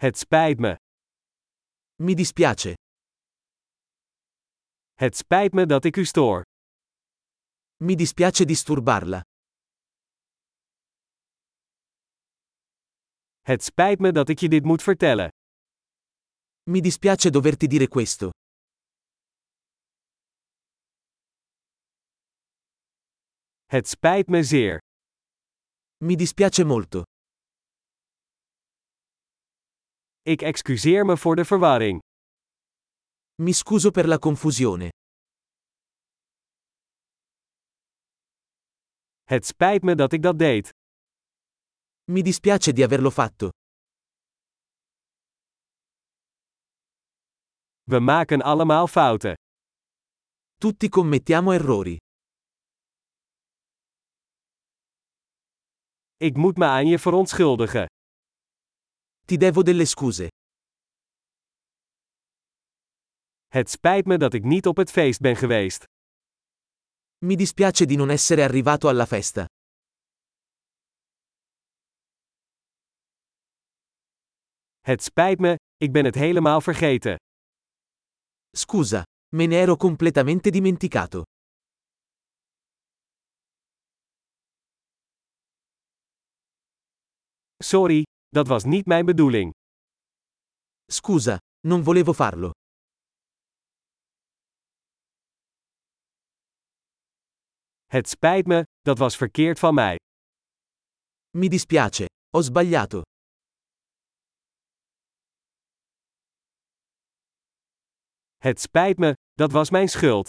Het spijt me. Mi dispiace. Het spijt me dat ik u stoor. Mi dispiace disturbarla. Het spijt me dat ik je dit moet vertellen. Mi dispiace doverti dire questo. Het spijt me zeer. Mi dispiace molto. Ik excuseer me voor de verwarring. Mi scuso per la confusione. Het spijt me dat ik dat deed. Mi dispiace di averlo fatto. We maken allemaal fouten. Tutti commettiamo errori. Ik moet me aan je verontschuldigen. Ti devo delle scuse. Het spijt me dat ik niet op het feest ben geweest. Mi dispiace di non essere arrivato alla festa. Het spijt me, ik ben het helemaal vergeten. Scusa, me ne ero completamente dimenticato. Sorry, dat was niet mijn bedoeling. Scusa, non volevo farlo. Het spijt me, dat was verkeerd van mij. Mi dispiace, ho sbagliato. Het spijt me, dat was mijn schuld.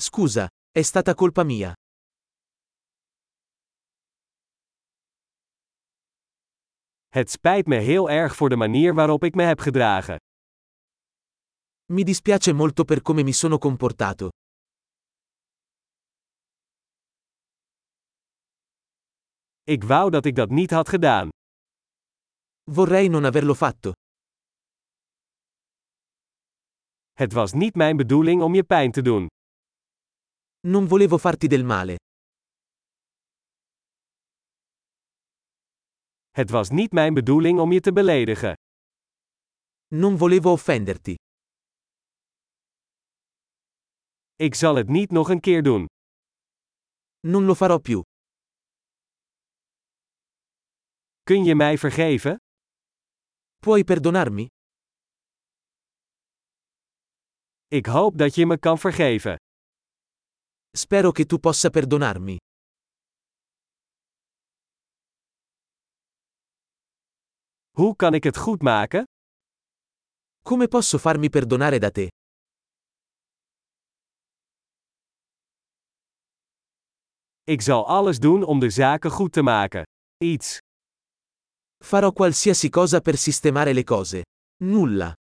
Scusa, è stata colpa mia. Het spijt me heel erg voor de manier waarop ik me heb gedragen. Mi dispiace molto per come mi sono comportato. Ik wou dat ik dat niet had gedaan. Vorrei non averlo fatto. Het was niet mijn bedoeling om je pijn te doen. Non volevo farti del male. Het was niet mijn bedoeling om je te beledigen. Non volevo offenderti. Ik zal het niet nog een keer doen. Non lo farò più. Kun je mij vergeven? Puoi perdonarmi? Ik hoop dat je me kan vergeven. Spero che tu possa perdonarmi. Hoe kan ik het goed maken? Come posso farmi perdonare da te? Ik zal alles doen om de zaken goed te maken. Iets. Farò qualsiasi cosa per sistemare le cose. Nulla.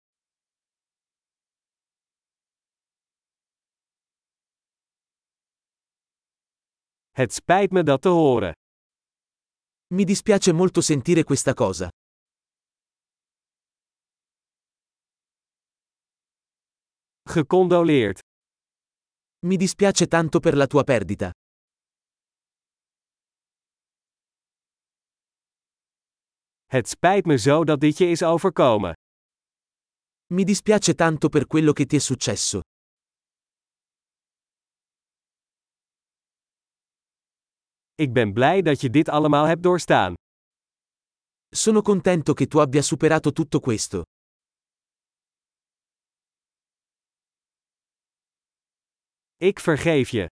Het spijt me dat te horen. Mi dispiace molto sentire questa cosa. Gecondoleerd. Mi dispiace tanto per la tua perdita. Het spijt me zo dat dit je is overkomen. Mi dispiace tanto per quello che ti è successo. Ik ben blij dat je dit allemaal hebt doorstaan. Sono contento che tu abbia superato tutto questo. Ik vergeef je.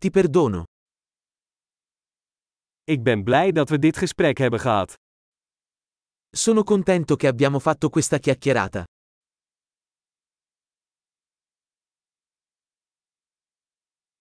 Ti perdono. Ik ben blij dat we dit gesprek hebben gehad. Sono contento che abbiamo fatto questa chiacchierata.